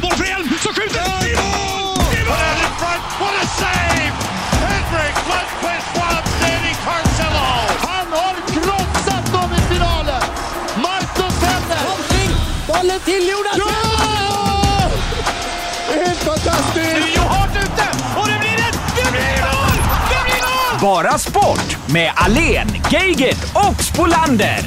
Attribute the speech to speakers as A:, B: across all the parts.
A: så skjuter han! I mål! I mål!
B: What a save! Henrik Lundqvist vann nere i Carcelo!
C: Han har krossat dem i finalen! Marcus Hellner!
D: Kontring! Bollen till Jonas!
C: Ja! Det är Helt fantastiskt!
B: Det är hårt ute och det blir ett... Det blir mål! Det blir mål!
E: Bara sport med Alen, Geigert och Spolander.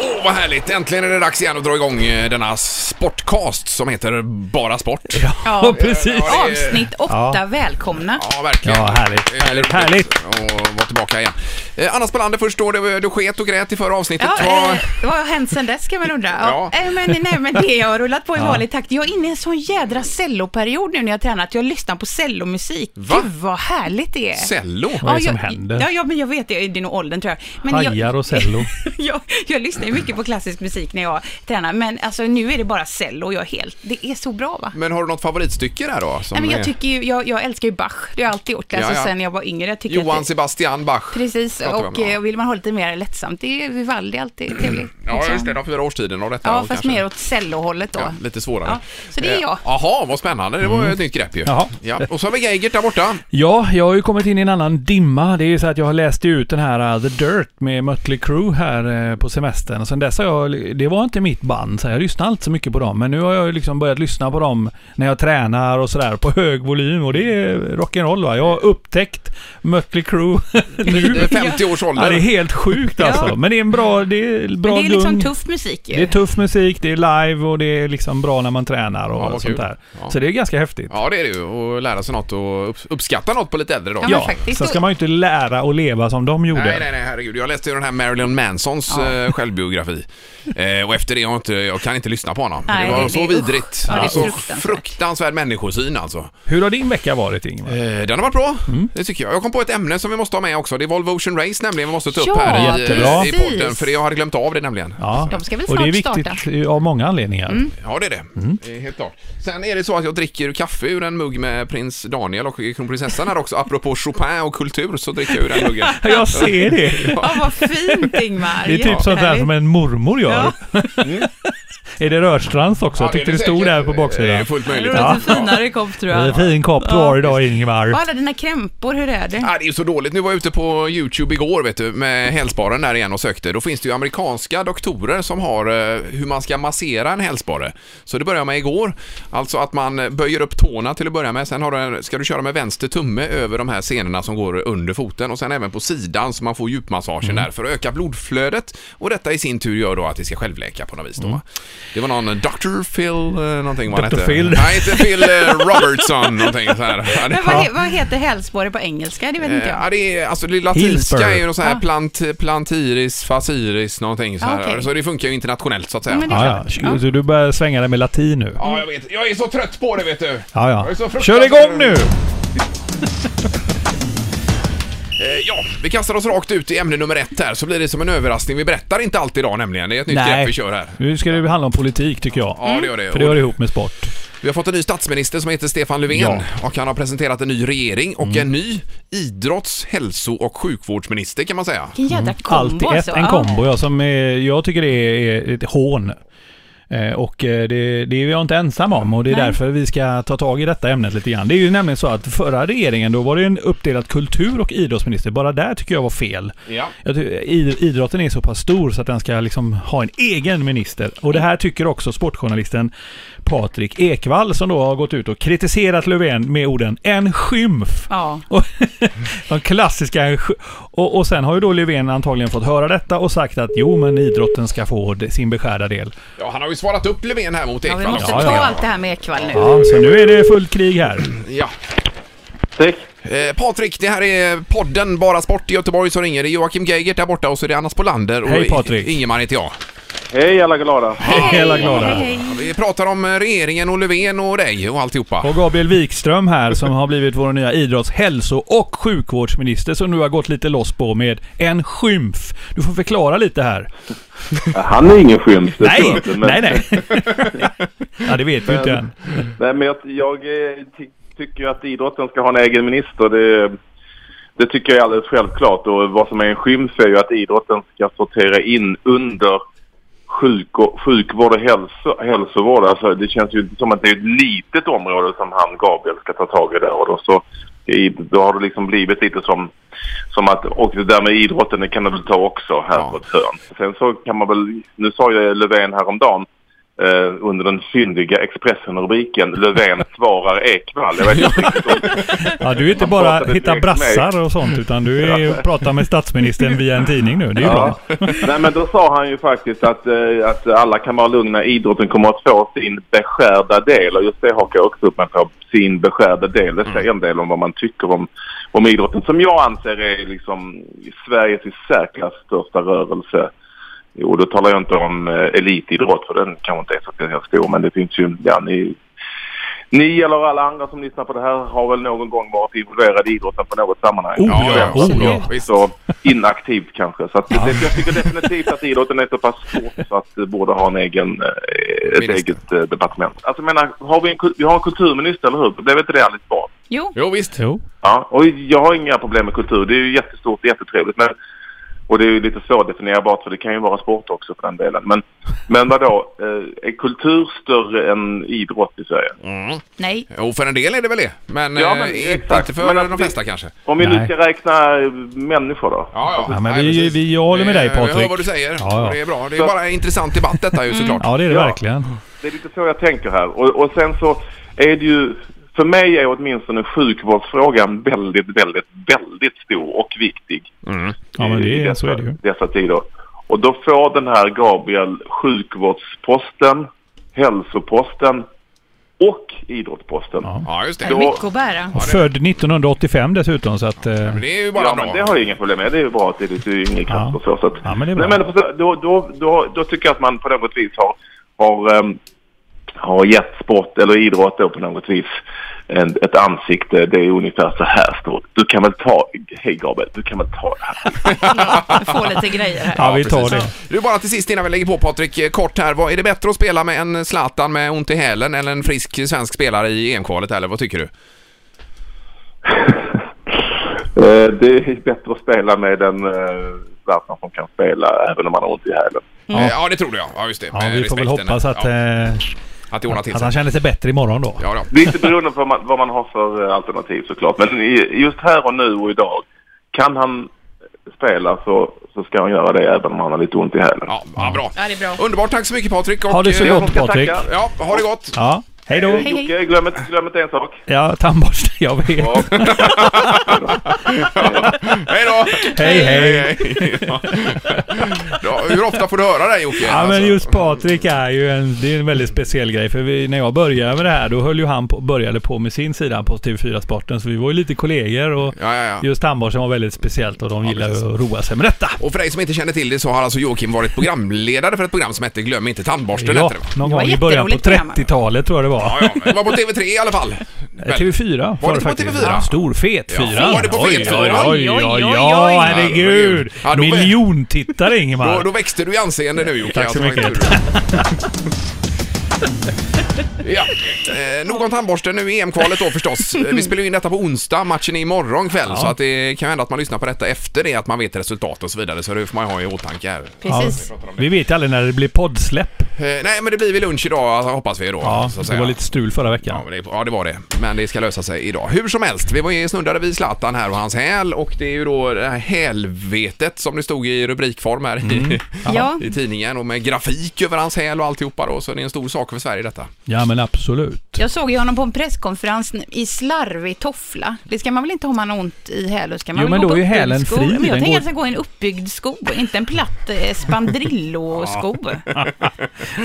F: Åh, vad härligt! Äntligen är det dags igen att dra igång eh, denna sportcast som heter Bara Sport. Ja,
G: Ja,
F: precis. Ja, det är-
G: Avsnitt åtta, välkomna.
F: verkligen.
E: Ja, härligt,
F: Det är
E: härligt,
F: roligt
E: härligt.
F: Att vara tillbaka igen. Eh, Anna Spelander först då, du, du sket och grät i förra avsnittet.
G: Ja,
F: Vad-
G: eh, vad har hänt sen dess kan man undra. Ja.
F: Ja.
G: eh, Men, nej, men det har rullat på i vanlig takt. Jag är inne i en sån jädra celloperiod nu när jag tränar att jag lyssnar på cellomusik.
F: Va?
G: Gud vad härligt det är.
F: Cello?
G: Vad
D: är det som händer?
G: Ja, ja, men jag vet det. Det är nog åldern tror jag. Men jag,
D: Hajar och cello.
G: jag, jag lyssnar ju mycket på klassisk musik när jag tränar. Men alltså, nu är det bara cello och jag är helt... Det är så bra va?
F: Men har du något favoritstycke där då? som
G: Nej, men
F: är-
G: jag, tycker ju, jag, jag älskar ju Bach. Det har jag alltid gjort. Alltså,
F: Ja, ja.
G: Sen jag var yngre. Jag tycker
F: Johann
G: att det,
F: Sebastian Bach.
G: Precis,
F: pratar vi om,
G: och
F: ja.
G: eh, vill man ha lite mer lättsamt, det är Vivaldi alltid trevligt.
F: Ja,
G: också.
F: just det. De fyra årstiden och detta.
G: liksom- Ja,
F: och
G: fast
F: kanske-
G: mer åt cellohållet då.
F: Ja, lite svårare.
G: Ja, så det är
F: Eh,
G: jag.
F: Jaha, vad spännande. Det var ju ett nytt grepp ju.
H: Mm. Jaha.
F: Ja. Och så har vi Geigert där borta.
H: Ja, jag har ju kommit in i en annan dimma. Det är ju så att jag har läst ut den här uh, The Dirt med Mötley Crüe här eh, på semestern. Och sen dess har jag... Det var inte mitt band, så jag lyssnade inte så mycket på dem. Men nu har jag ju liksom börjat lyssna på dem när jag tränar och sådär på hög volym. Och det är rock'n'roll va. Jag har upptäckt Mötley Crüe
F: Det är
H: nu.
F: 50 års ålder.
H: Ja, det är helt sjukt alltså. Men det är en bra... Det är bra
G: Men det är liksom
H: gung.
G: tuff musik ju.
H: Det är tuff musik, det är live och det är liksom bra när man tränar och
F: Ja, vad
H: sånt
F: kul.
H: där.
F: Ja.
H: Så det är ganska häftigt.
F: Ja, det är det ju. Och lära sig något och upp- uppskatta något på lite äldre dagar.
G: Ja, men faktiskt.
H: Sen ska man ju inte lära och leva som de gjorde.
F: Nej, nej, nej, herregud. Jag läste ju den här Marilyn Mansons eh, självbiografi. Eh, och efter det har jag inte, jag kan inte lyssna på honom.
G: Nej,
F: det var
G: det-
F: så
G: det- usch.
F: vidrigt.
G: Ja, det är
F: så
G: fruktansvärt.
F: fruktansvärd människosyn alltså.
H: Hur har din vecka varit Ingmar?
F: Eh, den har varit bra,
H: Mm.
F: det tycker jag. Jag kom på ett ämne som vi måste ha med också. Det är Volvo Ocean Race nämligen vi måste ta upp
G: Ja,
F: här i,
H: jättebra.
F: i podden.
G: precis.
F: För jag hade glömt av det nämligen.
H: Ja.
G: de ska väl
H: och det är
G: snart Mm.
H: viktigt eh, av många anledningar.
F: Ja, det är det.
H: Mm.
F: Det är Helt klart. Sen är det så att jag dricker kaffe ur en mugg med prins Daniel och kronprinsessan här också. Apropå Chopin och kultur så dricker jag ur den muggen.
H: Jag ser det.
G: Ja, vad fint Ingmar.
H: Det är typ sånt där
G: Jättehärligt.
H: som en mormor gör. är det Rörstrands också?
F: Ja,
H: Jag tyckte
F: är
H: det stod
F: säkert. Eh,
H: där på
F: Det är
H: baksidan.
F: fullt
G: Det
F: möjligt.
G: låter finare kopp tror
H: Det är en
G: jag.
H: fin kopp du
G: Ja,
H: har idag
G: Och
H: Ingmar.
G: alla dina krämpor, hur är det?
F: Ja, Ah, det är ju så dåligt. Nu var jag ute på YouTube igår vet du, med hälsbaren där igen och sökte. Då finns det ju amerikanska doktorer som har eh, hur man ska massera en hälsbare. Så det började jag med igår. Alltså att man böjer upp tårna till att börja med. Sen har du, en- ska du köra med vänster tumme över de här senorna som går under foten och sen även på sidan så man får djupmassagen
G: Mm.
F: där för att öka blodflödet. Och detta i sin tur gör då att det ska självläka på något vis. Då.
G: Mm.
F: va? Det var någon Dr. Phil eh, någonting vad han
H: Dr.
F: hette.
H: Phil.
F: Nej, inte Phil eh, Robertson någonting så här. Ja, det-
G: Men vad, he- vad heter hälsporre på engelska? Det vet inte
F: Eh, Ja,
G: jag.
F: det är, alltså det latinska
H: Hillsborough.
F: är ju någon sån här
G: Ah.
F: plant, plantiris, faciris, någonting så här.
G: Ah, okej.
F: Så det funkar ju internationellt så att säga.
G: Ja, men det är
H: Ja,
G: klart.
H: ja. Så du börjar svänga dig med latin nu?
F: Ja, jag vet. Jag är så trött på det, vet du. Eh,
H: Ja,
F: Jag är så
H: ja.
F: fruktansvärt-
H: Kör igång nu!
F: Eh, ja, vi kastar oss rakt ut i ämne nummer ett här, så blir det som en överraskning. Vi berättar inte allt idag nämligen. Det är ett nytt grepp vi kör här.
H: nu ska det handla om politik tycker jag.
G: Mm.
F: Ja, det gör det.
H: För det
F: Och
H: hör ihop med sport.
F: Vi har fått en ny statsminister som heter Stefan Löfven och han har presenterat en ny regering och
H: Mm.
F: en ny idrotts-, hälso och sjukvårdsminister kan man säga.
G: Vilken jädra
H: Allt
G: kombo
H: i mm. ett,
G: alltså.
H: en
G: Ja.
H: kombo. Jag, som, eh, jag tycker det är ett hån. Eh, Och eh, det, det är jag inte ensam om och det är
G: Nej.
H: därför vi ska ta tag i detta ämnet lite grann. Det är ju nämligen så att förra regeringen, då var det en uppdelad kultur och idrottsminister. Bara där tycker jag var fel.
F: Ja.
H: Jag ty- id- idrotten är så pass stor så att den ska liksom ha en egen minister. Och det här tycker också sportjournalisten Patrik Ekwall som då har gått ut och kritiserat Löfven med orden “en skymf”.
G: Ja.
H: Och, de klassiska... en sk- Och, och sen har ju då Löfven antagligen fått höra detta och sagt att jo men idrotten ska få d- sin beskärda del.
F: Ja, han har ju svarat upp Löfven här mot
G: Ja,
F: Ekvall.
G: vi måste
H: Ja,
G: ta
H: ja.
G: allt det här med Ekwall nu.
H: Ja, så nu är det fullt krig här.
F: Ja. Eh, Patrik, det här är podden Bara Sport i Göteborg som ringer. Det är Joakim Geigert där borta och så är det Anna Spolander och
H: Hej, Patrik.
F: I- Ingemar heter jag.
I: Hej alla glada!
H: Hela glada.
G: Hej, hej.
F: Vi pratar om eh, regeringen och Löfven och dig och alltihopa.
H: Och Gabriel Wikström här som har blivit vår nya idrotts-, hälso och sjukvårdsminister som nu har gått lite loss på med en skymf. Du får förklara lite här.
I: Han är ingen skymf, det tror jag
H: Nej,
I: inte, men,
H: nej, nej. Ja, det vet vi ju inte än.
I: nej, men jag, jag eh, ty, tycker ju att idrotten ska ha en egen minister. Det, det tycker jag är alldeles självklart. Och vad som är en skymf är ju att idrotten ska sortera in under sjuk och, sjukvård och hälso, hälsovård. Alltså, det känns ju inte som att det är ett litet område som han, Gabriel, ska ta tag i där. Och då, så, i- då har det liksom blivit lite som, som att, och det där med idrotten, det kan du väl ta också här
F: Ja.
I: på ett hörn. Sen så kan man väl, nu sa jag Löfven häromdagen, eh, under den syndiga Expressen-rubriken Löfven svarar Ekvall. Jag vet inte riktigt om-
H: Ja, du är inte
I: Man
H: bara
I: pratade
H: hitta
I: direkt
H: brassar
I: med.
H: och sånt utan du är, pratar med statsministern via en tidning nu. Det är ju bra.
I: Ja. Nej men då sa han ju faktiskt att, eh, att alla kan vara lugna. Idrotten kommer att få sin beskärda del. Och just det hakar jag också upp mig på. Sin beskärda del. Det
H: Mm.
I: säger en del om vad man tycker om, om idrotten. Som jag anser är liksom Sveriges i särklass största rörelse. Och då talar jag inte om eh, elitidrott för den kanske inte är så speciellt stor. Men det finns ju, ja ni, ni eller alla andra som lyssnar på det här har väl någon gång varit involverade i idrotten på något sammanhang.
H: Oh, ja,
F: ja,
H: oh,
F: ja,
H: ja.
F: visst.
I: Så inaktivt kanske. Så att det, jag tycker definitivt att idrotten är så pass stort så att det borde ha en egen, eh, ett
F: Minister.
I: eget eh, departement. Alltså jag menar, har vi, en, kul- vi har en kulturminister, eller hur? Blev inte det alldeles bra?
G: Jo,
F: Jo, visst.
H: Jo.
I: Ja, och jag har inga problem med kultur. Det är ju jättestort och jättetrevligt. Men, och det är ju lite svårdefinierbart för det kan ju vara sport också för den delen. Men, men vadå, eh, är kultur större än idrott i Sverige?
G: nej.
F: Jo, för en del är det väl det. Men,
I: Ja,
F: eh,
I: men
F: inte-
I: exakt.
F: inte för
I: Men att
F: de
I: vi-
F: flesta kanske.
I: Om vi nu
H: Nej.
I: ska räkna eh, människor då?
F: Ja,
H: Ja, men
F: Nej,
H: vi-
F: precis.
H: vi- jag håller med dig,
F: Eh, Jag hör
H: Patrik.
F: vad du säger.
H: Ja, ja.
F: Det är bra. Det är bara en intressant debatt detta ju såklart.
H: Ja, det är det
I: Ja.
H: verkligen.
I: Det är lite så jag tänker här. Och, och sen så är det ju, för mig är åtminstone sjukvårdsfrågan väldigt, väldigt, väldigt stor och viktig.
H: Ja, men
I: i-
H: det
I: i
H: är, så är
I: dessa-
H: det ju.
I: dessa tider. Och då får den här Gabriel sjukvårdsposten, hälsoposten och idrottsposten.
H: Ja.
F: Ja, just det.
I: Då-
G: Mycket att bära.
H: Född 1985 dessutom så att... eh,
F: Men Det är ju bara
I: Ja,
F: bra.
I: men det har jag inga problem med. Det är ju bra att det är lite yngre krafter
H: Ja.
I: och så. så att,
H: Ja, men det är bra.
I: Nej, men då, då, då, då, då tycker jag att man på något vis har, har, ehm, har gett sport eller idrott då på något vis en, ett ansikte. Det är ungefär så här stort. Du kan väl ta, hej Gabriel, du kan väl ta det här.
G: Du får lite grejer här.
H: Ja, vi tar det.
F: precis. Du, bara till sist innan vi lägger på Patrik, eh, kort här. Vad, är det bättre att spela med en Zlatan med ont i hälen eller en frisk svensk spelare i EM-kvalet eller vad tycker du?
I: Eh, det är bättre att spela med en eh, Zlatan som kan spela även om man har ont i hälen.
F: Ja, Eh, ja det tror jag. Ja, just det.
H: Mm. Ja,
F: Med
H: vi får väl
F: respekten.
H: hoppas att,
F: Ja,
H: eh,
F: att det ordnar till
H: att
F: sig.
H: han känner sig bättre imorgon då.
F: Ja, ja.
I: Det är inte beroende på vad man, vad man har för eh, alternativ såklart. Men i- just här och nu och idag. Kan han spela så, så ska han göra det även om han har lite ont i hälen.
F: Ja, ja, bra.
G: Ja, det är bra.
F: Underbart. Tack så mycket Patrik. Och,
H: Ha det så
F: eh,
H: gott
I: ska
H: Patrik.
I: tacka.
F: Ja, ha det gott.
H: Ja, hej då.
G: Hej, hej.
I: Jocke, glöm inte, glöm inte en sak.
H: Ja, tandborste, jag vet.
I: Ja.
F: Hej då!
H: Hej, hej.
F: hej. Ja. Ja, Hur ofta får du höra det här, Jocke?
H: Ja men
F: Alltså,
H: just Patrik är ju en, det är en väldigt speciell grej. För vi, när jag började med det här då höll ju han på, började på med sin sida på TV4 Sporten. Så vi var ju lite kollegor och
F: Ja, ja, ja.
H: just tandborsten var väldigt speciellt och de gillar
F: precis.
H: ju att roa sig med detta.
F: Och för dig som inte känner till det så har alltså Joakim varit programledare för ett program som hette Glöm inte tandborsten.
H: Ja,
F: Hette det.
H: någon
G: Det var
H: gång i början på
G: jätteroligt program.
H: 30-talet tror jag det var.
F: Ja, ja, men det var på TV3 i alla fall.
H: Eh, TV4
F: Var det
H: det
F: på
H: faktiskt.
F: TV4?
H: Ja, Stor fet
F: Ja,
H: fyra.
F: var det på
H: Oj,
F: fet
H: oj,
F: fyra?
H: Oj, oj, oj,
G: oj.
H: herregud.
F: Ja, då-
H: Miljontittare Ingemar.
F: Då, då växte du i anseende nu Jocke.
H: Tack så
F: Alltså,
H: mycket.
F: Ja. Eh, nog om tandborsten nu i EM-kvalet då förstås. Eh, Vi spelar ju in detta på onsdag, matchen är imorgon kväll. Så att det kan hända att man lyssnar på detta efter det, att man vet resultat och så vidare. Så det får man ju ha i åtanke här.
G: Precis.
H: Vi vet ju aldrig när det blir poddsläpp.
F: Eh, nej, men det blir väl lunch idag alltså, hoppas vi då.
H: Ja,
F: så att
H: det
F: säga.
H: var lite strul förra veckan.
F: Ja, men det, ja, det var det. Men det ska lösa sig idag. Hur som helst, vi var ju snuddade vid Zlatan här och hans häl och det är ju då det här hälvetet som det stod i rubrikform här
H: Mm.
F: i,
G: Ja.
F: i tidningen och med grafik över hans häl och alltihopa då. Så det är en stor sak för Sverige detta.
H: Ja men absolut.
G: Jag såg ju honom på en presskonferens i slarvig toffla. Det ska man väl inte ha om man har ont i hälen? Ska man
H: Jo,
G: väl
H: men
G: gå
H: då
G: på
H: är ju
G: uppbyggd
H: hälen
G: sko?
H: fri.
G: Men jag
H: Den
G: tänker
H: går-
G: att det ska gå i en uppbyggd sko, inte en platt eh, spandrillo-sko. Såg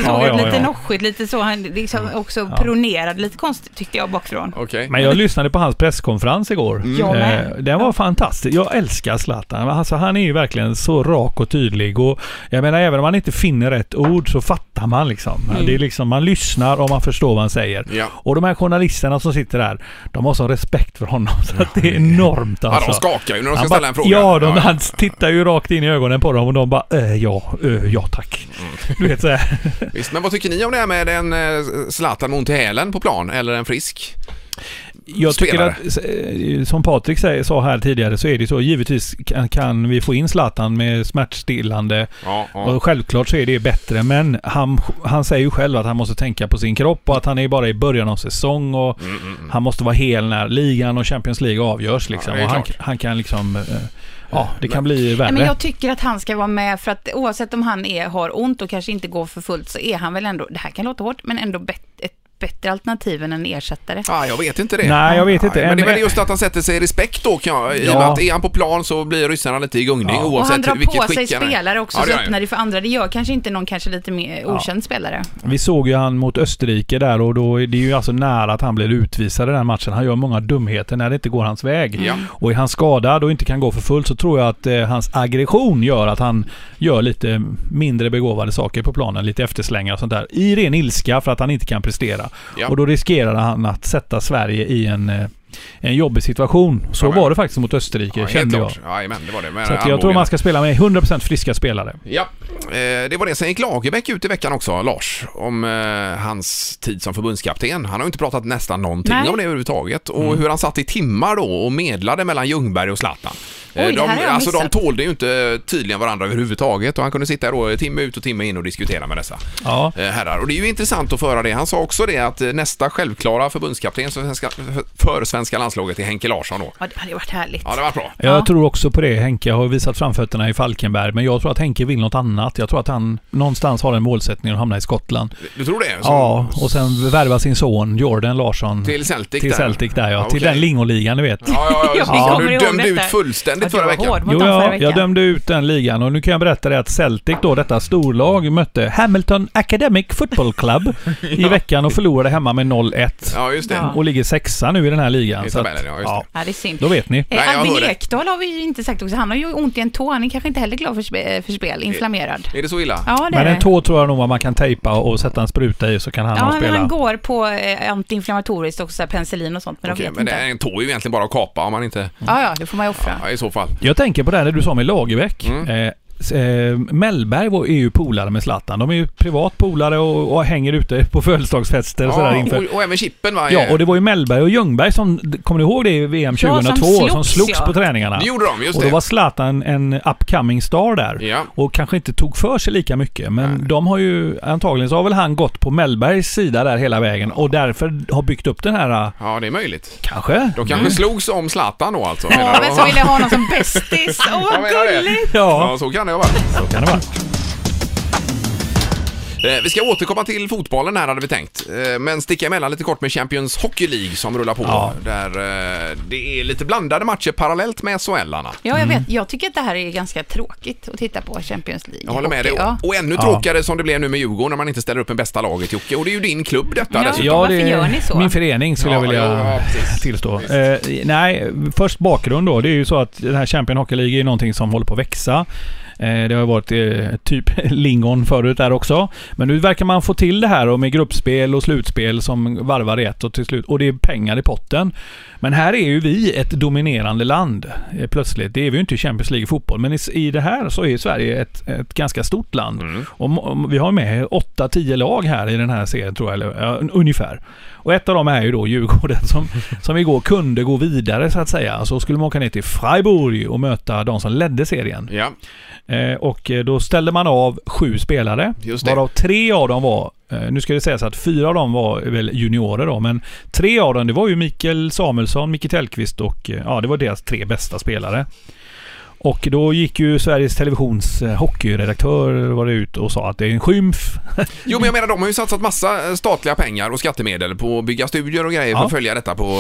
H: Ja,
G: ett
H: ja,
G: lite
H: ja.
G: noschigt, lite så. Han liksom också pronerade lite konstigt tyckte jag bakifrån.
F: Okej.
H: Men jag lyssnade på hans presskonferens igår.
F: Mm.
G: Jag med.
H: Eh, Den var fantastisk. Jag älskar Zlatan. Alltså, han är ju verkligen så rak och tydlig. Och jag menar, även om man inte finner rätt ord så fattar man liksom.
G: Mm.
H: Det är liksom man lyssnar och man förstår vad han säger.
F: Ja.
H: Och de här journalisterna som sitter där, de har sån respekt för honom så att det är enormt
F: Ja,
H: alltså.
F: de skakar ju när de ska
H: Han
F: ställa
H: bara,
F: en fråga.
H: ja, de, han tittar ju rakt in i ögonen på dem och de bara äh, ja, äh, ja tack.
F: Mm.
H: Du vet så här.
F: Visst, men vad tycker ni om det här med en eh, Zlatan med ont i hälen på plan eller en frisk?
H: jag tycker
F: spelare.
H: att, eh, som Patrik säger, sa här tidigare, så är det så. Givetvis kan, kan vi få in Zlatan med smärtstillande.
F: Ja, ja.
H: Och självklart så är det bättre, men han, han säger ju själv att han måste tänka på sin kropp och att han är bara i början av säsong och
F: Mm,
H: han måste vara hel när ligan och Champions League avgörs. Liksom.
F: Ja, det är
H: och han,
F: klart.
H: han kan liksom... eh, Ja, det kan bli värre.
G: Nej, men jag tycker att han ska vara med för att oavsett om han är, har ont och kanske inte går för fullt så är han väl ändå, det här kan låta hårt, men ändå bet, ett bättre alternativ än en ersättare.
F: Ah, jag vet inte det.
H: Nej, jag vet inte.
F: men det är
H: En-
F: väl just att han sätter sig i respekt då kan jag, i och
H: Ja.
F: med att är han på plan så blir ryssarna lite i gungning
G: Och
F: oavsett
G: han drar
F: vilket
G: på sig
F: skick han är.
G: spelare också,
F: Ja, det
G: så
F: gör han ju.
G: öppnar det för andra. Det gör kanske inte någon kanske lite mer okänd spelare.
H: Vi såg ju han mot Österrike där och då är det ju alltså nära att han blir utvisad i den här matchen. Han gör många dumheter när det inte går hans väg.
F: Ja.
H: Och är han skadad och inte kan gå för fullt så tror jag att eh, hans aggression gör att han gör lite mindre begåvade saker på planen. Lite efterslängar och sånt där. I ren ilska för att han inte kan prestera.
F: Ja.
H: Och då riskerar han att sätta Sverige i en, eh, en jobbig situation. Så
F: Ja, men-
H: var det faktiskt mot Österrike
F: Ja, helt
H: kände jag.
F: klart. Ja, men det var det. Med
H: Så att jag
F: armbågen.
H: tror man ska spela med 100% friska spelare.
F: Ja, eh, det var det. Sen gick Lagerbäck ut i veckan också, Lars, om eh, hans tid som förbundskapten. Han har ju inte pratat nästan någonting
G: Nej.
F: om det överhuvudtaget
H: Mm.
F: och hur han satt i timmar då och medlade mellan Ljungberg och Zlatan. Eh,
G: Oj, det här har
F: de,
G: jag
F: alltså de
G: missat.
F: tålde ju inte tydligen varandra överhuvudtaget och han kunde sitta då timme ut och timme in och diskutera med dessa
H: Ja.
F: eh, herrar. Och det är ju intressant att föra det. Han sa också det att eh, nästa självklara förbundskapten för svenska, för svenska landslaget är Henke Larsson då.
G: Ja, det hade varit härligt.
F: Ja, det var bra.
H: Jag
G: Ja.
H: tror också på det. Henke har visat framfötterna i Falkenberg, men jag tror att Henke vill något annat. Jag tror att han någonstans har en målsättning att hamna i Skottland.
F: Du tror det? Så-
H: ja, och sen värva sin son Jordan Larsson
F: Till Celtic
H: till
F: där.
H: Celtic där, ja. Till
F: okej.
H: den lingoligan, du vet.
F: Ja, ja, ja, just det.
G: Ja.
F: Du
G: Jag kommer
F: dömde
G: ihåg
F: ut
G: detta.
F: fullständigt
G: Att jag
F: förra
G: var
F: veckan.
G: hård mot
H: Jo,
G: dem förra
H: ja,
G: veckan.
H: jag dömde ut den ligan och nu kan jag berätta det att Celtic då, detta storlag, mötte Hamilton Academic Football Club i veckan och förlorade hemma med 0-1.
F: Ja, just det.
G: Ja.
H: Och ligger sexa nu i den här ligan.
F: I
H: så att-
F: tabellen, ja, just det.
G: Ja, det är synd.
H: Då vet ni.
G: Eh,
F: Nej, jag hör
G: Albin
F: det.
G: Ekdal har vi ju inte sagt också. Han har ju ont i en tå. Han är kanske inte heller glad för, spe- eh, för spel. Inflammerad.
F: Är det så illa?
G: Ja, det är
H: Men en
G: det.
H: tå tror jag nog att man kan tejpa och sätta en spruta i så kan han
G: Ja, men
H: spela.
G: han går på eh, antiinflammatoriskt också, så här penicillin och sånt, men
F: Okej,
G: jag vet
F: men det
G: inte.
F: är en tå är ju egentligen bara att kapa om man inte...
G: Ja, ja, det får man ju offra.
F: Ja, i så fall.
H: Jag tänker på det här när du sa med Lagerbäck.
F: Mm.
H: Eh, s- eh, Mellberg var är ju polare med Zlatan. De är ju privat polare och, och hänger ute på födelsedagsfester och sådär
F: Ja,
H: inför.
F: och, och även Chippen va?
H: Ja, och det var ju Mellberg och Ljungberg som, kommer du ihåg det i VM
G: Ja,
H: 2002?
G: som
H: som,
G: slogs,
H: slogs
G: ja.
H: på träningarna.
F: Det gjorde de, just
H: och
F: det.
H: då var Zlatan en upcoming star där.
F: Ja.
H: Och kanske inte tog för sig lika mycket. Men de har ju, antagligen så har väl han gått på Mellbergs sida där hela vägen och därför har byggt upp den här, ah,
F: Ja, det är möjligt.
H: kanske?
F: De kanske slogs om Zlatan då alltså?
G: Ja,
F: menar
G: men
F: du?
G: så vill jag ha någon som bästis. Åh,
F: Jag
G: vad
F: menar det.
G: gulligt!
H: Ja,
F: Ja, så kan det vara. Så.
H: kan det vara.
F: Eh, Vi ska återkomma till fotbollen här hade vi tänkt. Eh, Men sticka emellan lite kort med Champions Hockey League som rullar på.
H: Ja.
F: Där eh, det är lite blandade matcher parallellt med SHL, Anna.
G: Ja, jag vet. Jag tycker att det här är ganska tråkigt att titta på Champions League.
F: Jag håller med dig.
G: Okej, ja.
F: Och, och ännu tråkigare som det blev nu med Djurgården när man inte ställer upp en bästa laget, Jocke. Och det är ju din klubb detta
G: Ja.
F: dessutom.
G: Ja, varför gör ni så?
H: Min förening skulle
F: Ja,
H: jag vilja
F: ja, precis.
H: tillstå. Eh, nej, först bakgrund då. Det är ju så att den här Champion Hockey League är någonting som håller på att växa. Eh, Det har ju varit eh, typ lingon förut där också. Men nu verkar man få till det här och med gruppspel och slutspel som varvar i ett och till slut. Och det är pengar i potten. Men här är ju vi ett dominerande land eh, plötsligt. Det är vi ju inte i Champions League i fotboll. Men i, i det här så är Sverige ett, ett ganska stort land.
F: Mm.
H: Och mo- om vi har med 8-10 lag här i den här serien tror jag, eller ja, un- ungefär. Och ett av dem är ju då Djurgården som, som igår kunde gå vidare så att säga. Så skulle man åka ner till Freiburg och möta de som ledde serien.
F: Ja,
H: Eh, och eh, då ställde man av sju spelare.
F: Just det.
H: Varav tre av dem var, eh, nu ska det sägas att fyra av dem var väl juniorer då, men tre av dem det var ju Mikael Samuelsson, Micke Tellqvist och eh, ja, det var deras tre bästa spelare. Och då gick ju Sveriges Televisions eh, hockeyredaktör var det ut och sa att det är en skymf.
F: Jo men jag menar de har ju satsat massa eh, statliga pengar och skattemedel på att bygga studier och grejer för
H: Ja.
F: att följa detta på,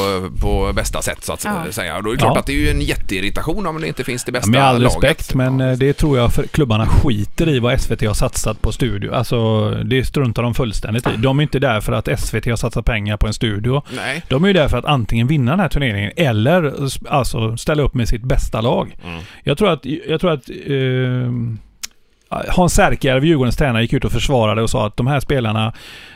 F: på bästa sätt så att
G: Ja.
F: säga. Och då är det klart
H: Ja.
F: att det är ju en jätteirritation om det inte finns det bästa
H: Med all
F: laget.
H: respekt, men eh, det tror jag för klubbarna skiter i vad SVT har satsat på studio. Alltså, det struntar de fullständigt i. De är inte där för att SVT har satsat pengar på en studio.
F: Nej.
H: De är ju där för att antingen vinna den här turneringen eller s-
F: Mm.
H: alltså, ställa upp med sitt bästa lag. Jag tror att, jag tror att eh, Hans Särkjärv, Djurgårdens tränare, gick ut och försvarade och sa att de här spelarna,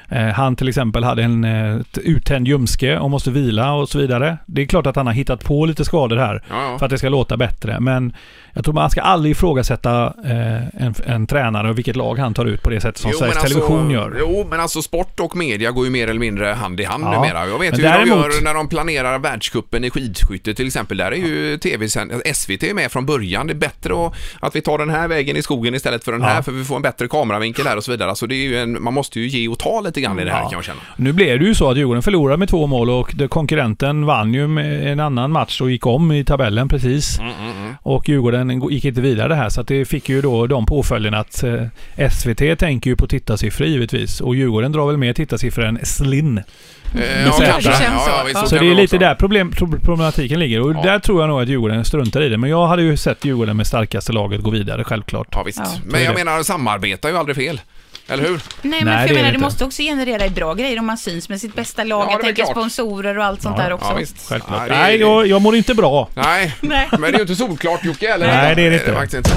H: eh, han till exempel hade en eh, ett uttänd ljumske och måste vila och så vidare. Det är klart att han har hittat på lite skador här
F: Ja, ja.
H: för att det ska låta bättre, men jag tror man ska aldrig ifrågasätta eh, en, en tränare och vilket lag han tar ut på det sättet som
F: Jo,
H: Sveriges
F: men alltså-
H: Television gör.
F: Jo, men alltså sport och media går ju mer eller mindre hand i hand
H: Ja.
F: numera. Jag vet
H: Men
F: ju hur de
H: däremot-
F: gör när de planerar världscupen i skidskytte till exempel. Där är ju tv SVT är med från början. Det är bättre att, att vi tar den här vägen i skogen istället för den här, för vi får en bättre kameravinkel här och så vidare. Alltså det är ju en, man måste ju ge och ta lite grann i det här kan jag känna.
H: Nu blev det ju så att Djurgården förlorade med två mål och det- konkurrenten vann ju med en annan match och gick om i tabellen precis.
F: Mm,
H: Och Djurgården go- gick inte vidare här så att det fick ju då de påföljden att eh, SVT tänker ju på tittarsiffror givetvis och Djurgården drar väl mer tittarsiffror än Slinn.
F: Eh,
H: säkert.
G: Det känns
F: Ja,
G: så.
F: ja, visst,
G: Ja.
H: Så
F: kan
H: det är lite
F: också.
H: där problem, pro- problematiken ligger och där tror jag nog att Djurgården struntar i det. Men jag hade ju sett Djurgården med starkaste laget gå vidare självklart.
F: Ja, visst.
G: Ja.
F: Men jag
H: Så är det.
F: menar, samarbeta är ju aldrig fel. Eller hur?
G: Nej,
H: Nej,
G: men för
H: det är
G: jag menar,
H: det
G: det
H: inte.
G: måste också generera bra grejer om man syns med sitt bästa lag.
F: Ja, det är
G: jag
F: väl
G: tänker
F: klart.
G: sponsorer och allt sånt där också.
F: Ja, visst.
H: Självklart.
F: Ja, det är-
H: Nej, jag, jag mår inte bra.
F: Nej,
G: Nej.
F: men det är ju inte solklart Jocke, eller?
H: Nej, det är det inte.
F: faktiskt inte.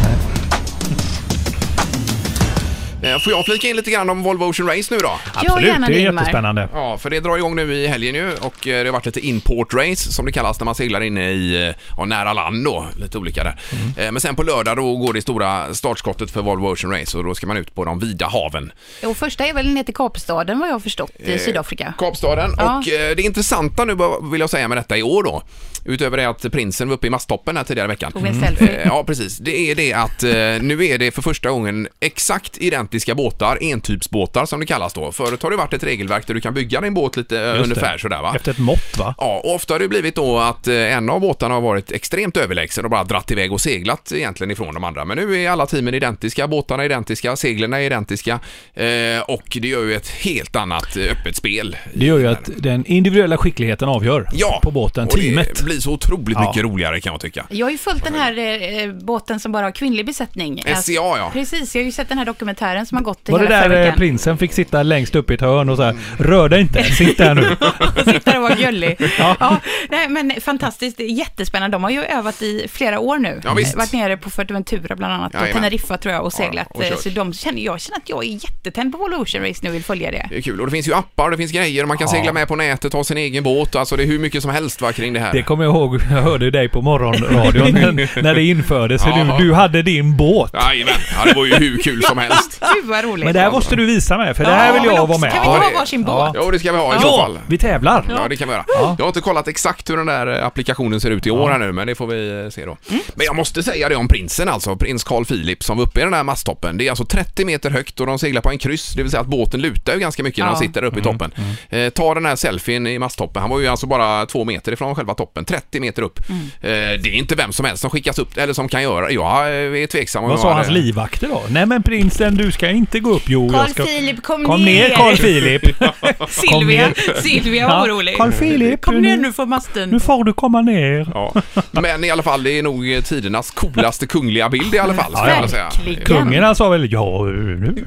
F: Eh, Får jag flika in lite grann om Volvo Ocean Race nu då?
G: Gör gärna
H: det är
G: Ingmar.
H: jättespännande.
F: Ja, för det drar igång nu i helgen ju och eh, det har varit lite import race som det kallas när man seglar inne i, eh, ja, nära land då, lite olika där.
H: Mm.
F: Eh, Men sen på lördag då går det stora startskottet för Volvo Ocean Race och då ska man ut på de vida haven.
G: Och första är väl ner till Kapstaden vad jag har förstått
F: Eh,
G: i Sydafrika.
F: Kapstaden.
G: Ja.
F: Och eh, det intressanta nu bara vill jag säga med detta i år då, utöver det att prinsen var uppe i masttoppen här tidigare i veckan.
G: Tog en Mm. selfie.
F: Eh, Ja, precis. Det är det att eh, nu är det för första gången exakt identiska båtar, entypsbåtar som det kallas då. Förut har det varit ett regelverk där du kan bygga din båt lite eh,
H: Just det.
F: ungefär sådär va?
H: Efter ett mått va?
F: Ja, och ofta har det blivit då att eh, en av båtarna har varit extremt överlägsen och bara dratt iväg och seglat egentligen ifrån de andra. Men nu är alla teamen identiska, båtarna är identiska, seglen är identiska eh, och det gör ju ett helt annat eh, öppet spel.
H: Det gör ju att den individuella skickligheten avgör
F: Ja,
H: på båten,
F: och det
H: teamet.
F: blir så otroligt
H: Ja.
F: mycket roligare kan jag tycka.
G: Jag har ju följt den här eh, båten som bara har kvinnlig besättning.
F: SCA,
G: Alltså,
F: Eh, ja.
G: Precis, jag har ju sett den här dokumentären som har gått i
H: Var det
G: hela
H: där
G: förra
H: eh,
G: veckan.
H: prinsen fick sitta längst upp i ett hörn och så här, rör dig inte, sitt där nu.
G: och sitta och vara gullig. ja. nej, men fantastiskt, det är jättespännande. De har ju övat i flera år nu.
F: Ja, visst.
G: Varit nere på Fuerteventura bland annat, på
F: Jajamän.
G: Teneriffa tror jag och seglat.
F: och kört.
G: så de känner, jag känner att jag är jättetänd på Volvo Ocean Race nu och vill följa det.
F: Det är kul och det finns ju appar, det finns grejer och man kan segla med på nätet, ha sin egen båt. Alltså det är hur mycket som helst va, kring det här.
H: Det kommer jag ihåg, jag hörde ju dig på morgonradion när- när det infördes. för
F: Jaha.
H: Du, du hade din båt.
F: Jajamän, ja, det var ju hur kul som helst.
G: Gud vad roligt.
H: Men det här måste du visa mig, för det här
G: Ja,
H: vill
G: men
H: jag
G: också-
H: vara med
G: Kan vi
H: på.
G: inte ha
F: det-
G: varsin
H: Ja.
G: båt?
F: Jo, det ska vi ha i så
H: Ja,
F: fall.
H: vi tävlar.
F: Ja, det kan vi göra. Jag har inte kollat exakt hur den där eh, applikationen ser ut i år här nu, men det får vi eh, se då.
H: Mm.
F: Men jag måste säga det om prinsen alltså, prins Carl Philip som var uppe i den här masttoppen. Det är alltså 30 meter högt och de seglar på en kryss, det vill säga att båten lutar ju ganska mycket när
G: Ja.
F: de sitter där uppe i
H: Mm.
F: toppen. Eh, ta den här selfien i masttoppen, han var ju alltså bara två meter ifrån själva toppen, 30 meter upp.
H: Mm.
F: Eh, det är inte vem som helst som skickas upp, eller som kan göra Jag eh, är tveksam om
H: Vad
F: jag
H: sa
F: hade-
H: hans livvakter då? Nej men prinsen, du ska inte gå upp. Jo,
G: Carl
H: jag ska...
G: Philip, kom,
H: Kom ner Carl Philip! Kom
G: Silvia,
H: ner.
G: Silvia
H: Ja,
G: var orolig.
H: Carl Philip,
G: Kom
H: du-
G: ner nu för masten.
H: Nu får du komma ner.
F: Ja. Men i alla fall, det är nog tidernas coolaste kungliga bild i alla fall. skulle jag vilja säga.
G: Verkligen.
H: Kungen han sa väl ja... nu-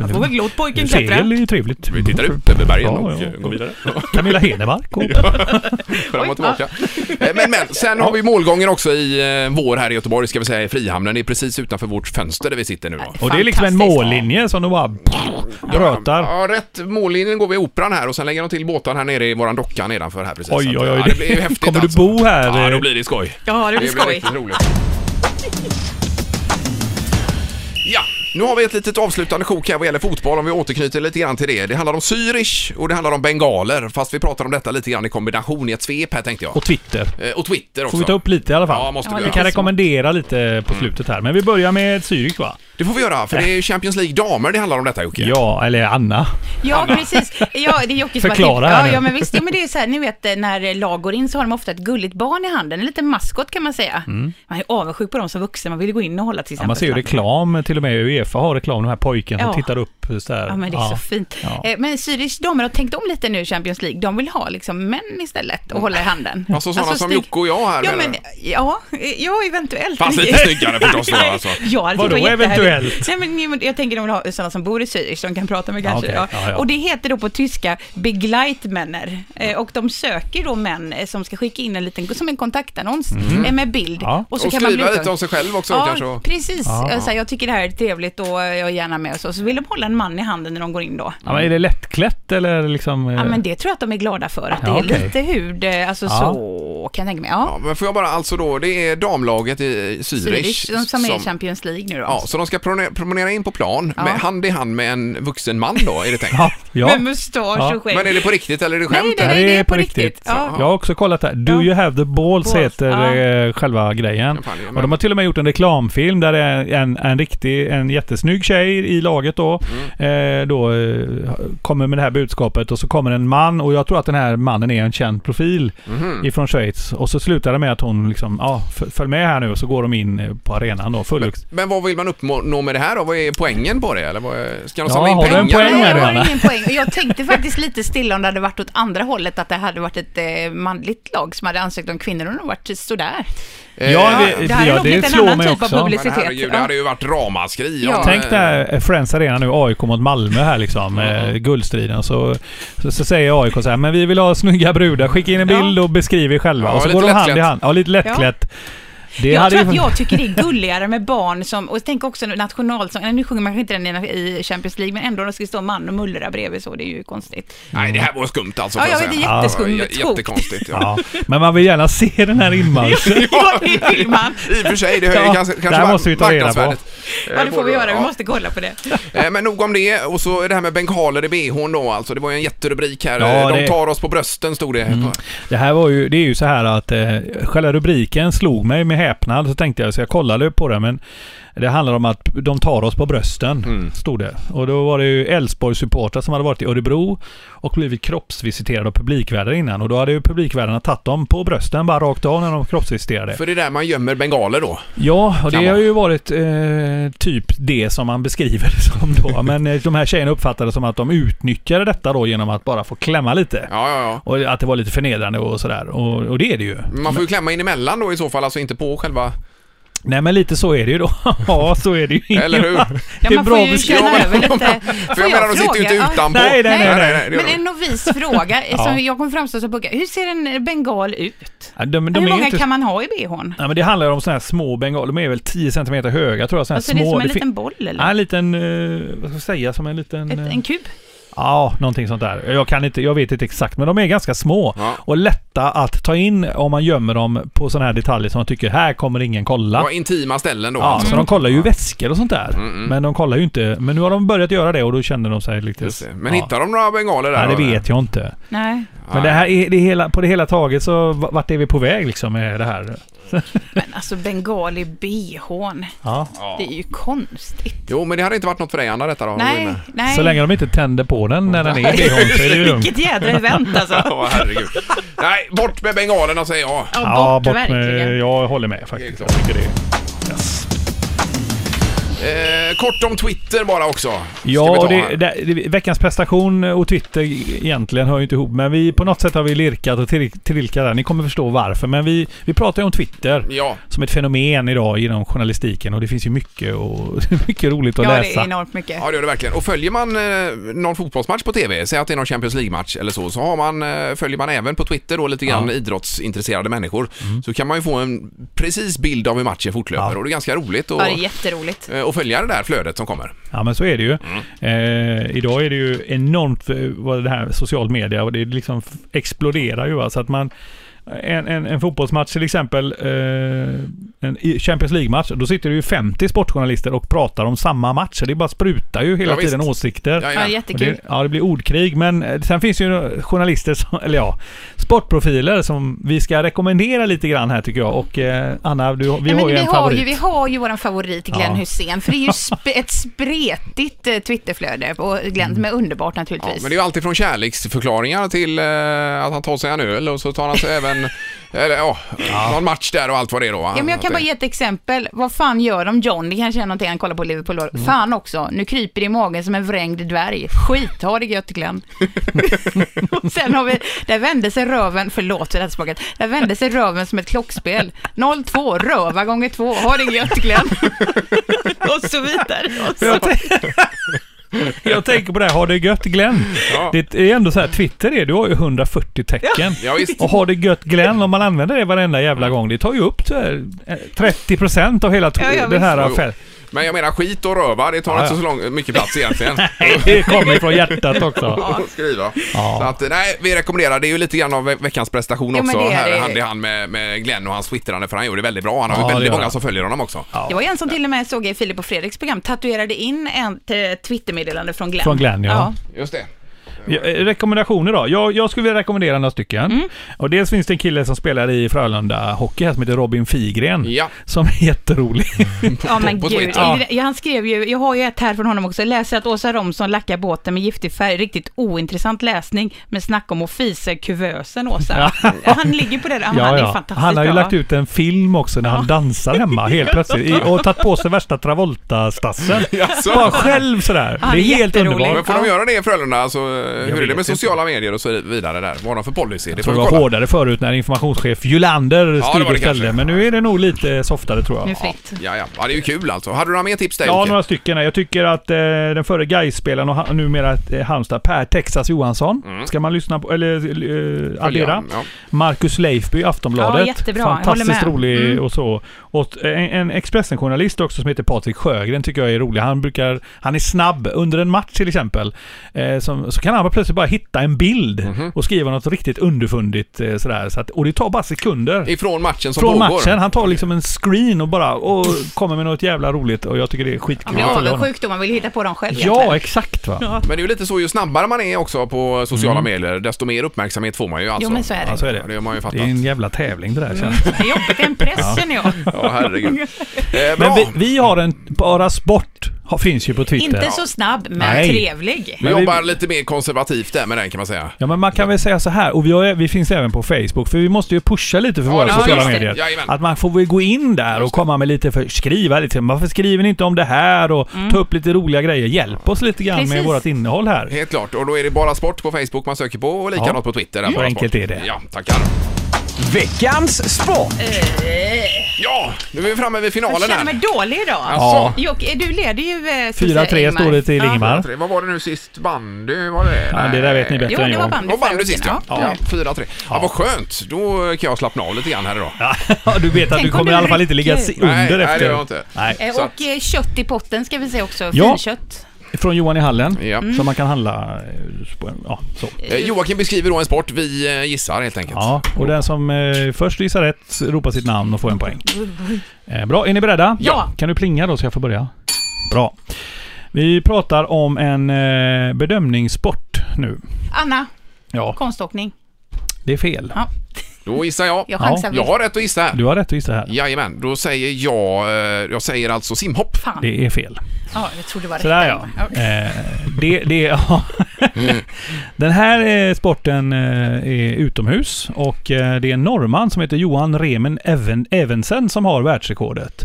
G: Jag får väl låt pojken
H: Segel
G: klättra.
H: är ju trevligt.
F: Vi tittar upp över bergen
H: Ja,
F: och
H: ja.
F: eh, går vidare.
H: Camilla Henemark och...
F: Fram och tillbaka. Eh, Men, men sen har vi målgången också i eh, vår här i Göteborg, ska vi säga, i Frihamnen. Det är precis utanför vårt fönster där vi sitter nu. Då.
H: Och det är liksom en
G: Fantastiskt.
H: mållinje som de bara brötar.
F: Ja, rätt mållinjen går vid Operan här och sen lägger de till båtar här nere i våran docka nedanför här precis.
H: Oj,
F: Så att,
H: oj, oj.
F: Ja, det blir ju häftigt
H: Kommer du
F: alltså.
H: bo här?
F: Ja, då blir det skoj.
G: Ja, det blir skoj.
F: riktigt roligt. Ja, nu har vi ett litet avslutande sjok här vad gäller fotboll om vi återknyter lite grann till det. Det handlar om Zürich och det handlar om bengaler fast vi pratar om detta lite grann i kombination i ett svep här tänkte jag.
H: Och Twitter.
F: Eh, Och Twitter också.
H: Får vi ta upp lite i alla
F: Ja,
H: fall?
F: måste
G: Ja,
F: vi
H: Vi
G: det
F: göra. Mm.
H: kan rekommendera lite på slutet här. Men vi börjar med Zürich va?
F: Det får vi göra, för det är ju Champions League damer det handlar om detta Jocke.
H: Ja, eller Anna.
G: Ja, precis. Ja, det är Jocke som har
H: Förklara här
G: tipsat. ja,
H: nu.
G: ja, men visst. Ja, men det är så här, ni vet eh, när eh, lag går in så har de ofta ett gulligt barn i handen. En liten maskot kan man säga. Man är avundsjuk på dem som vuxen. Man vill gå in och hålla till
H: Mm. Ja,
G: exempel.
H: man ser ju reklam, till och med Uefa har reklam, den här pojken som
G: Ja.
H: tittar upp så här.
G: Ja, men det är så fint.
H: Ja.
G: Eh, Men Zürich, de har tänkt om lite nu i Champions League. De vill ha liksom män istället och hålla i handen.
F: Alltså sådana som
G: Stig-
F: Jocke och jag här
G: Ja,
F: menar
G: men, ja, eh, ja, eventuellt.
F: Fast lite snyggare förstås då
G: Nej,
F: alltså.
G: Jag hade
H: Vadå
G: tyckt det var jättehärligt.
H: Aktuellt.
G: Nej, men, nej, men jag tänker de vill ha sådana som bor i Zürich, som kan prata med kanske.
H: Okej,
G: ja.
H: ja, ja.
G: Och det heter då på tyska Begleitmänner. Eh, Och de söker då män eh, som ska skicka in en liten, som en kontaktannons eh, med bild.
H: Ja.
F: Mm. Och skriva lite om sig själv också
G: Ja,
F: kanske. och-
G: precis.
H: Ja.
G: Jag, så här, jag tycker det här är trevligt och jag är gärna med. Och så. så vill de hålla en man i handen när de går in då.
H: Ja, men är det lättklätt eller liksom...
G: Ja, men det tror jag att de är glada för, att det
H: Ja,
G: är
H: okej.
G: lite hud, eh, alltså
H: Ja.
G: så kan jag tänka mig. Ja.
F: Ja, men får jag bara, alltså då, det är damlaget i Zürich.
G: Zürich, de som är i Champions League nu då.
F: Ja, så de ska prone- promenera in på plan,
G: Ja.
F: med, hand i hand med en vuxen man då, är det tänkt.
H: Ja, ja.
G: Med mustasch
H: Ja.
G: och skägg.
F: Men är det på riktigt eller är det
G: Nej,
F: skämt?
G: nej, nej, det är på riktigt. Ja.
H: Jag har också kollat här. Do
G: Ja.
H: you have the balls,
G: Balls,
H: heter
G: ja.
H: eh, själva grejen.
F: Ja, fan, det är
H: och de har till och med gjort en reklamfilm där det är en, en riktig, en jättesnygg tjej i laget då,
F: Mm.
H: eh, då eh, kommer med det här budskapet och så kommer en man och jag tror att den här mannen är en känd profil
F: Mhm.
H: ifrån Schweiz. Och så slutar det med att hon liksom, ja, f- följ med här nu och så går de in eh, på arenan då, full
F: Men vad vill man uppnå med det här då? Vad är poängen på det? Eller vad är, ska de
H: Ja,
F: samla in
H: har du
F: pengar?
H: en poäng
G: Nej,
H: här?
G: jag har
H: Helena.
G: ingen poäng. Och Jag tänkte faktiskt lite stilla om det hade varit åt andra hållet, att det hade varit ett eh, manligt lag som hade ansökt om kvinnor och de varit sådär.
F: Eh,
G: det här är nog lite en annan typ av publicitet.
F: Men herregud, det
G: Ja.
F: hade ju varit ramaskri.
G: Ja.
F: om,
H: Tänk
F: eh,
H: där Friends Arena nu, AIK mot Malmö här liksom, eh, guldstriden. Så, så, så säger AIK så här, men vi vill ha snygga brudar, skicka in en
G: Ja.
H: bild och beskriv er själva.
F: Ja,
H: och så
F: lite
H: går de hand i
F: lättklätt.
H: hand. Ja, lite lättklätt. Det
G: jag
H: hade
G: tror att
H: ju...
G: jag tycker det är gulligare med barn som, och tänk också nationalsången, nu sjunger man kanske inte den i Champions League, men ändå de ska stå man och mullra bredvid så, det är ju konstigt.
F: Nej, det här var skumt alltså.
G: Ja,
F: får
G: jag
F: säga.
G: vet, det är jätteskumt.
F: Ja, jä- Jättekonstigt. Ja.
H: Ja, men man vill gärna se den här inmarschen.
G: Ja, det vill man.
F: I och för sig, det höjer
H: Ja,
F: kanske,
H: där
F: kanske
H: måste vi ta reda på.
F: marknadsvärdet.
G: Ja, det får vi göra, vi
F: Ja.
G: måste kolla på det.
F: Eh, Men nog om det. Och så är det här med bengaler i bhn då alltså. Det var ju en jätterubrik här.
H: Ja,
F: Eh, De
H: det- Mm.
F: tar oss på brösten stod det.
H: Det här var ju, det är ju så här att eh, själva rubriken slog mig med häpnad. Så tänkte jag, så jag kollade på det, men det handlar om att de tar oss på brösten,
F: Mm.
H: stod det. Och då var det ju Elfsborgs supportrar som hade varit i Örebro och blivit kroppsvisiterade av publikvärdar innan. Och då hade ju publikvärdarna tagit dem på brösten, bara rakt av när de kroppsvisiterade.
F: För det är där man gömmer bengaler då.
H: Ja, och
F: Kan
H: det har ju varit eh, typ det som man beskriver det som då. Men eh, de här tjejerna uppfattade som att de utnyttjade detta då genom att bara få klämma lite.
F: Ja, ja, ja.
H: Och att det var lite förnedrande och sådär. Och, och det är det ju.
F: Man får ju klämma in emellan då i så fall, alltså inte på själva...
H: Nej men lite så är det ju då. ja, så är det ju.
F: Eller hur?
G: Ja,
H: Det är
G: man
H: bra
G: får ju
H: beskrivet.
G: känna över lite.
F: För jag menar, de sitter ju inte
G: Ja.
F: utanpå.
H: Nej, nej, nej, nej.
F: det gör
G: Men
F: de
G: en novis fråga,
H: Ja.
G: som jag kommer framstå som pucka. Hur ser en bengal ut?
H: Ja, de, de
G: Hur
H: är ju
G: många
H: inte...
G: kan man ha i bhn?
H: Nej, men det handlar ju om sådana här små bengaler. De är väl 10 cm höga tror jag. Såna här
G: Alltså
H: små...
G: det är som en
H: fin-
G: liten boll
H: Ja,
G: eller?
H: en liten... eh, vad ska jag säga? Som en liten...
G: Ett,
H: eh,
G: en kub?
H: Ja, någonting sånt där. Jag kan inte, jag vet inte exakt, men de är ganska små
F: Ja.
H: och lätta att ta in om man gömmer dem på sådana här detaljer som man tycker, här kommer ingen kolla.
F: Det var intima ställen då.
H: Ja,
F: alltså.
H: så
G: Mm.
H: de kollar ju väskor och sånt där.
F: Mm,
H: Men de kollar ju inte. Men nu har de börjat göra det och då känner de sig lite...
F: Just det. Men
H: ja.
F: hittar de några bengaler där?
H: Nej, det
F: då?
H: vet jag inte.
G: Nej.
H: Men det här är, det hela, på det hela taget så v- vart är vi på väg liksom med det här?
G: Men alltså bengal i bhn.
H: Ja.
G: Det är ju konstigt.
F: Jo, men det hade inte varit något för dig Anna detta då?
G: Nej, nej.
H: Så länge de inte tänder på den när den är i bhn så är det ju lugnt.
G: Vilket jädra event alltså.
F: Åh, herregud. Nej, bort med bengalerna säger jag.
H: Ja, bort
G: verkligen.
H: med, jag håller med
F: Det är
H: faktiskt.
F: klart. Eh, kort om Twitter bara också. Ska vi
H: Ja,
F: ta
H: och det,
F: här.
H: det, det, veckans prestation och Twitter egentligen hör ju inte ihop. Men vi på något sätt har vi lirkat och till- trilkat där. Ni kommer förstå varför. Men vi, vi pratar ju om Twitter.
F: Ja.
H: Som ett fenomen idag inom journalistiken och det finns ju mycket, och, mycket roligt att
G: Ja, det
H: läsa.
G: är enormt mycket.
F: Ja, det gör det verkligen. Och följer man eh, någon fotbollsmatch på TV, säg att det är någon Champions League-match eller så, så har man, eh, följer man även på Twitter då lite grann
H: Ja. Mm.
F: idrottsintresserade människor, så kan man ju få en precis bild av hur matchen fortlöper
H: Ja.
F: och det är ganska roligt
G: Ja, det är
F: att
G: jätteroligt.
F: eh, och följa det där flödet som kommer.
H: Ja men så är det ju. Eh, idag är det ju enormt eh, vad det här social media och det liksom f- exploderar ju. va. Så att man, en, en, en fotbollsmatch till exempel, eh, en i- Champions League-match, då sitter det ju 50 sportjournalister och pratar om samma match. Så Det bara sprutar ju hela
F: Ja, visst.
H: tiden åsikter.
G: Ja,
F: Jajamän.
H: Och det,
G: jättekul.
H: ja, det blir ordkrig, men eh, sen finns det ju journalister, som, eller ja, sportprofiler som vi ska rekommendera lite grann här tycker jag. Och eh, Anna, du, vi
G: Nej, men
H: har ju
G: vi,
H: en
G: har
H: favorit.
G: ju, vi har ju vår favorit Glenn
H: Ja.
G: Hussein, för det är ju sp- ett spretigt eh, Twitterflöde och
H: Mm.
G: Glenn som är underbart
F: Ja,
G: naturligtvis.
F: men det är ju alltid från kärleksförklaringar till eh, att han tar sig en öl och så tar han sig även Eller, ja, någon match där och allt vad det är då va?
G: Ja, men jag kan bara ge ett exempel. Vad fan gör de John? Det kanske är någonting han kollar på Liverpool.
H: Mm.
G: Fan också, nu kryper det i magen som en vrängd dvärg. Skit, ha det gött Glenn. och sen har vi, där vände sig röven, förlåt för det här språket, där vände sig röven som ett klockspel. 0-2, röva gånger 2, ha det gött Glenn. och så vidare. Och så.
H: Jag, tän- jag tänker på det här, har det gött Glenn?
F: Ja.
H: Det är ändå så här, Twitter är, du har ju 140 tecken.
F: Ja, visst.
H: Och har det gött Glenn, om man använder det varenda jävla gång, det tar ju upp så här, eh, 30% av hela
G: Ja,
H: ja,
G: ja,
H: det här
F: Jo, jo.
H: affären.
F: Men jag menar skit och röva, det tar
H: Ja,
F: inte
H: ja.
F: så lång, mycket plats egentligen.
H: Det kommer från hjärtat också.
F: att skriva.
H: Ja.
F: Så att, nej, vi rekommenderar. Det är ju lite grann av ve- veckans prestation
G: Jo, men
F: också.
G: det är
F: här
G: det.
F: hand i hand med, med Glenn och hans twittrande för han gjorde det väldigt bra. Han har
H: Ja,
F: ju
H: det
F: väldigt
H: gör
F: många
H: han.
F: som följer honom också.
G: Det var ju en som till och med såg i Filip och Fredriks program, tatuerade in ett eh, Twittermeddelande från Glenn.
H: Från Glenn, ja.
F: Just det.
H: Ja, eh, Rekommendationer då? Jag, jag skulle vilja rekommendera några stycken.
G: Mm.
H: Och dels finns det en kille som spelar i Frölunda Hockey här som heter Robin Figren.
F: Ja.
H: Som är jätterolig.
G: Ja men
F: på
G: gud,
F: Twitter.
G: ja. Ja, han skrev ju, jag har ju ett här från honom också, Jag läser att Åsa Romson lackar båten med giftig färg, riktigt ointressant läsning, men snack om att fisa i kuvösen Åsa. Han ligger på det, där. han är fantastiskt
H: han har ju
G: bra.
H: lagt ut en film också när han dansar hemma helt plötsligt. I, och tagit på sig värsta Travolta-stassen.
F: Jaså?
H: Bara själv sådär.
G: Ja,
H: det är helt
G: jätterolig.
H: underbart.
F: Men får de göra det i Frölunda? Alltså, hur är det
H: vet
F: med
H: inte.
F: sociala medier och så vidare där? Vad har de för policy? Det
H: Jag tror det var hårdare förut när informationschef Julander
F: det
H: styrde
F: var det
H: och ställde.
F: kanske.
H: Men nu är det nog lite softare tror jag.
G: Nu fritt.
F: Ja, ja. ja, det är ju kul alltså. Hade du några mer tips där
H: Ja,
F: Jocke?
H: några stycken. Jag tycker att eh, den före Gais-spelaren och ha, numera eh, Halmstad, Per Texas Johansson, ska man lyssna på, eller eh, addera.
F: ja.
H: Marcus Leifby, Aftonbladet.
G: Ja, jättebra. Jag
H: Fantastiskt
G: håller med.
H: rolig
G: Mm.
H: och så. Och eh, en, en Expressen-journalist också som heter Patrik Sjögren tycker jag är rolig. Han brukar, han är snabb. Under en match till exempel, eh, som, så kan han bara plötsligt bara hitta en bild och skriva något riktigt underfundigt eh, sådär. Så att, och det tar bara sekunder.
F: Ifrån matchen som
H: Från
F: pågår?
H: matchen. Han tar liksom en screen och bara och kommer med något jävla roligt och jag tycker det är
G: Han
H: skitkul.
G: blir
H: att följa honom.
G: avundsjuk då, man vill hitta på dem själv
H: Ja, alltså. exakt va.
F: Men det är ju lite så, ju snabbare man är också på
H: Mm.
F: sociala medier, desto mer uppmärksamhet får man ju alltså.
G: Jo men så är det.
H: Ja, så är
F: Ja, det
H: det.
F: har man ju
H: Det
F: fattat.
H: är en jävla tävling det där känns det.
G: Det är jobbigt, det är en press känner jag.
F: Ja, herregud. Eh, bra.
H: Men vi, vi har en, Bara Sport har, finns ju på Twitter.
G: Inte så snabb, men
H: Nej.
G: trevlig.
F: Vi
H: Men vi-
F: jobbar lite mer konservativt där med den kan man säga.
H: Ja men man kan väl säga så här, och vi, har, vi finns även på Facebook, för vi måste ju pusha lite för
F: Ja,
H: våra
F: ja,
H: sociala
F: just det.
H: medier.
F: Jajamän.
H: Att man får väl gå in där och komma med lite, för, skriva lite, varför skriver ni inte om det här och ta upp lite roliga grejer, hjälp oss lite grann med
G: Mm. Precis.
H: vårt innehåll här.
F: Helt klart. Och då är det bara sport på Facebook man söker på och likadant
H: Ja.
F: på Twitter. där
H: Mm.
F: Bara
H: Så enkelt
F: Sport.
H: är det.
F: Ja, tackar.
E: Veckans sport.
F: Ja, nu är vi framme vid
G: Jag
F: finalen
G: Eh, känner mig
F: här.
G: dålig idag.
F: Alltså.
G: Jocke, du leder ju... eh, ska vi säga,
H: 4-3
G: Ingmar.
H: står det till
G: Ja.
H: Ingemar.
F: Vad var det nu sist? Bandy? Var det?
H: Ja, det där vet ni bättre
G: Jo,
H: än
G: det var
H: jag.
G: bandy
F: Det var
G: förra
F: bandy sist ja.
G: veckan,
F: ja. 4-3. Ja, vad skönt. Då kan jag slappna av lite grann här idag.
H: Ja, du vet att
G: Tänk
H: du
G: om
H: kommer
G: du
H: i alla fall inte ligga
G: rycker.
H: si- under
F: Nej, nej,
H: efter.
F: det gör jag inte.
H: Nej.
G: Eh,
F: Så
G: Och eh, kött i potten ska vi säga också,
H: Ja.
G: finkött.
H: Från Johan i hallen,
F: Ja.
G: Mm.
H: som man kan handla... eh, på en- Ja, så.
F: Eh, Joakim beskriver då en sport. Vi eh, gissar helt enkelt.
H: Ja, och den som eh, först gissar rätt ropar sitt namn och får en poäng. Eh, bra, är ni beredda?
G: Ja.
H: Kan du plinga då så jag får börja? Bra. Vi pratar om en eh, bedömningssport nu.
G: Anna,
H: Ja,
G: konståkning.
H: det är fel.
G: Ja.
F: Då gissar jag.
G: Jag
H: Ja,
G: chansar
F: Jag
G: ja.
F: har rätt att gissa här.
H: Du har rätt att gissa här.
F: Jajamän, då säger jag... eh, Jag säger alltså simhopp.
G: Fan.
H: Det är fel.
G: Ja, jag trodde det var
H: Sådär
G: rätt.
H: ja. Eh, det, det, ja. Den här eh, sporten eh, är utomhus och eh, det är en norrman som heter Johan Remen Even, Evensen som har världsrekordet.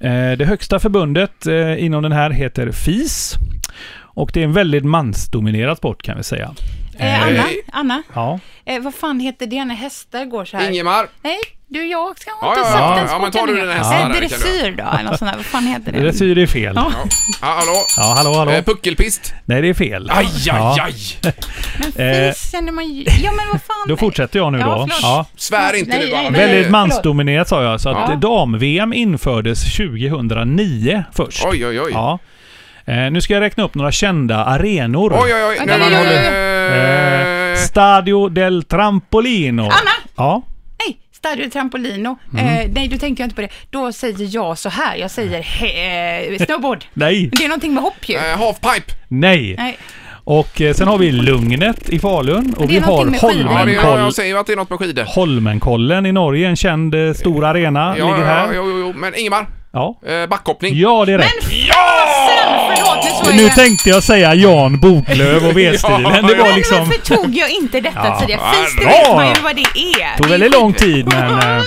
H: Eh, det högsta förbundet eh, inom den här heter FIS. Och det är en väldigt mansdominerad sport kan vi säga.
G: Eh, Anna, Anna
H: Ja,
G: eh, vad fan heter det när hästar går så här?
F: Ingemar.
G: Nej, du jag ska
F: Ja,
G: har inte
F: ja,
G: sagt
F: ja,
G: den
F: ja, men tar du den här
G: sporten.
F: hästen
G: Eh,
F: där, kan du.
G: Dressyr då, eller något sånt där. Vad fan heter det?
H: dressyr är fel.
G: Ja.
F: Mm. Ja, ah, hallå.
H: Ja, hallå hallå.
F: Eh, Puckelpist.
H: Nej, det är fel.
F: Aj, aj,
H: Ja,
F: aj.
G: Men
H: Eh,
G: fis känner man ju... Ja, men vad fan.
H: då fortsätter jag nu
G: Ja,
H: då.
G: förlåt.
H: Ja.
F: Svär inte
G: Nej,
F: nu bara.
G: nej, nej.
H: Väldigt
G: förlåt.
H: mansdominerat sa jag, så att
G: Ja.
H: dam-VM infördes 2009 först.
F: Oj, oj, oj.
H: Ja. Eh, nu ska jag räkna upp några kända arenor.
F: Oj, oj, oj.
G: Vänta,
F: Nej, men
G: oj,
F: håll
G: oj, oj.
F: nu.
H: Eh, Stadio del Trampolino.
G: Anna!
H: Ja.
G: Nej, Stadio Trampolino.
H: Mm.
G: Eh, nej, du tänker jag inte på det. Då säger jag så här. Jag säger he- eh, snowboard.
H: Nej.
G: Det är någonting med hopp ju.
F: Eh, Halfpipe.
H: Nej.
G: Nej.
H: Och eh, sen har vi Lugnet i Falun och
G: det
H: vi
G: är
H: har
G: någonting med skidor.
F: Ja, det, jag,
H: Holmenkoll
F: jag säger ju att det är något med skidor.
H: Holmenkollen i Norge, en känd eh, stor arena.
F: Ja,
H: ligger
F: ja,
H: här.
F: jo, jo, jo. Men Ingemar,
H: Ja.
F: eh, backhoppning.
H: ja, det är rätt.
G: Men fasen! Förlåt, nu
H: nu
G: är-
H: tänkte jag säga Jan Boklöv och V-stilen. Det
F: Ja,
H: var
G: Men
H: liksom...
G: varför tog jag inte detta
H: Ja.
G: tidigare? Fis, det
H: Ja.
G: vet man ju vad det är.
H: tog
G: Det är
H: väldigt lång
G: skit-
H: tid men... eh,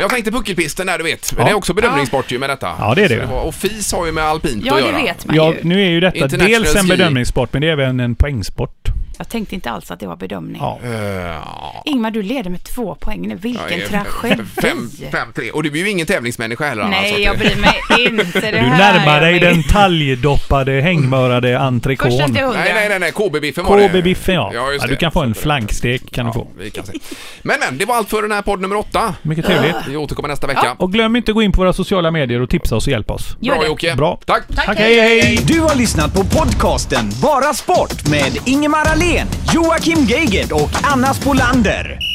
F: Jag tänkte puckelpisten där du vet. Men det är också bedömningssport ju med detta.
H: Ja, det är det.
F: Så var- Och FIS har ju med alpint
G: Ja,
F: att
G: det
F: göra.
G: vet man
H: Ja,
G: ju.
H: nu är ju detta
F: International
H: dels en
F: ski.
H: bedömningssport men det är även en poängsport.
G: Jag tänkte inte alls att det var bedömning.
H: Ja.
F: Eh,
G: Ingmar, du leder med två poäng nu.
F: ja,
G: Vilken
F: eh,
G: tragedi.
F: Fem, alltså. fem, tre. Och du är ju ingen tävlingsmänniska heller Anna, så att-
G: Nej, jag bryr mig inte. Det
H: Du
G: här
H: närmar
G: gör
H: dig
G: mig-
H: den talgdoppade, hängmörade
G: Första
H: entrecôten.
G: till hundra.
F: Nej, nej, nej, nej. KB-biffen var det.
H: KB-biffen ja.
F: Ja,
H: ja,
F: just
H: du
F: det.
H: kan få en flankstek. Kan du få.
F: Vi kan se. Men, men, det var allt för den här podd nummer åtta.
H: Mycket trevligt.
F: Vi återkommer nästa vecka.
H: Och glöm inte att gå in på våra sociala medier och tipsa oss och hjälpa oss.
G: Gör
F: Bra
G: det.
F: Jocke.
H: Bra.
F: Tack.
H: Tack, hej hej!
E: Du har lyssnat på podcasten Bara Sport med Ingemar Ahlén, Joakim Geigert och Anna Spolander.